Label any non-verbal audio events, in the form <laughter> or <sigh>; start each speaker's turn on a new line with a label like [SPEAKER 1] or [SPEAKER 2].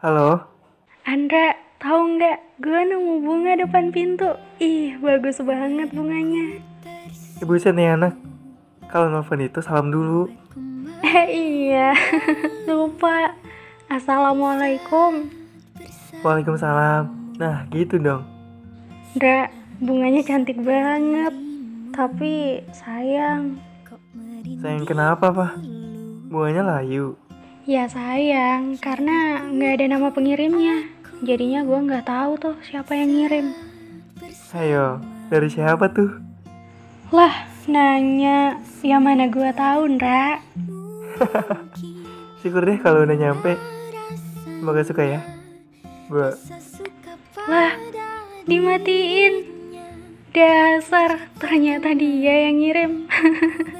[SPEAKER 1] Halo,
[SPEAKER 2] Andra, tahu nggak? Gue nemu bunga depan pintu. Ih, bagus banget bunganya. <laughs>
[SPEAKER 1] ibu Ica nih anak. Kalau nelfon itu salam dulu.
[SPEAKER 2] Eh iya, <laughs> lupa. Assalamualaikum.
[SPEAKER 1] Waalaikumsalam. Nah, gitu dong.
[SPEAKER 2] Andra, bunganya cantik banget. Tapi sayang.
[SPEAKER 1] Sayang kenapa, Pak? Buahnya layu.
[SPEAKER 2] Ya sayang, karena nggak ada nama pengirimnya. Jadinya gue nggak tahu tuh siapa yang ngirim.
[SPEAKER 1] Ayo, dari siapa tuh?
[SPEAKER 2] Lah, nanya. Ya mana gue tahu, Ndra.
[SPEAKER 1] Syukur deh kalau udah nyampe. Semoga suka ya. Gua
[SPEAKER 2] Lah, dimatiin. Dasar, ternyata dia yang ngirim. <laughs>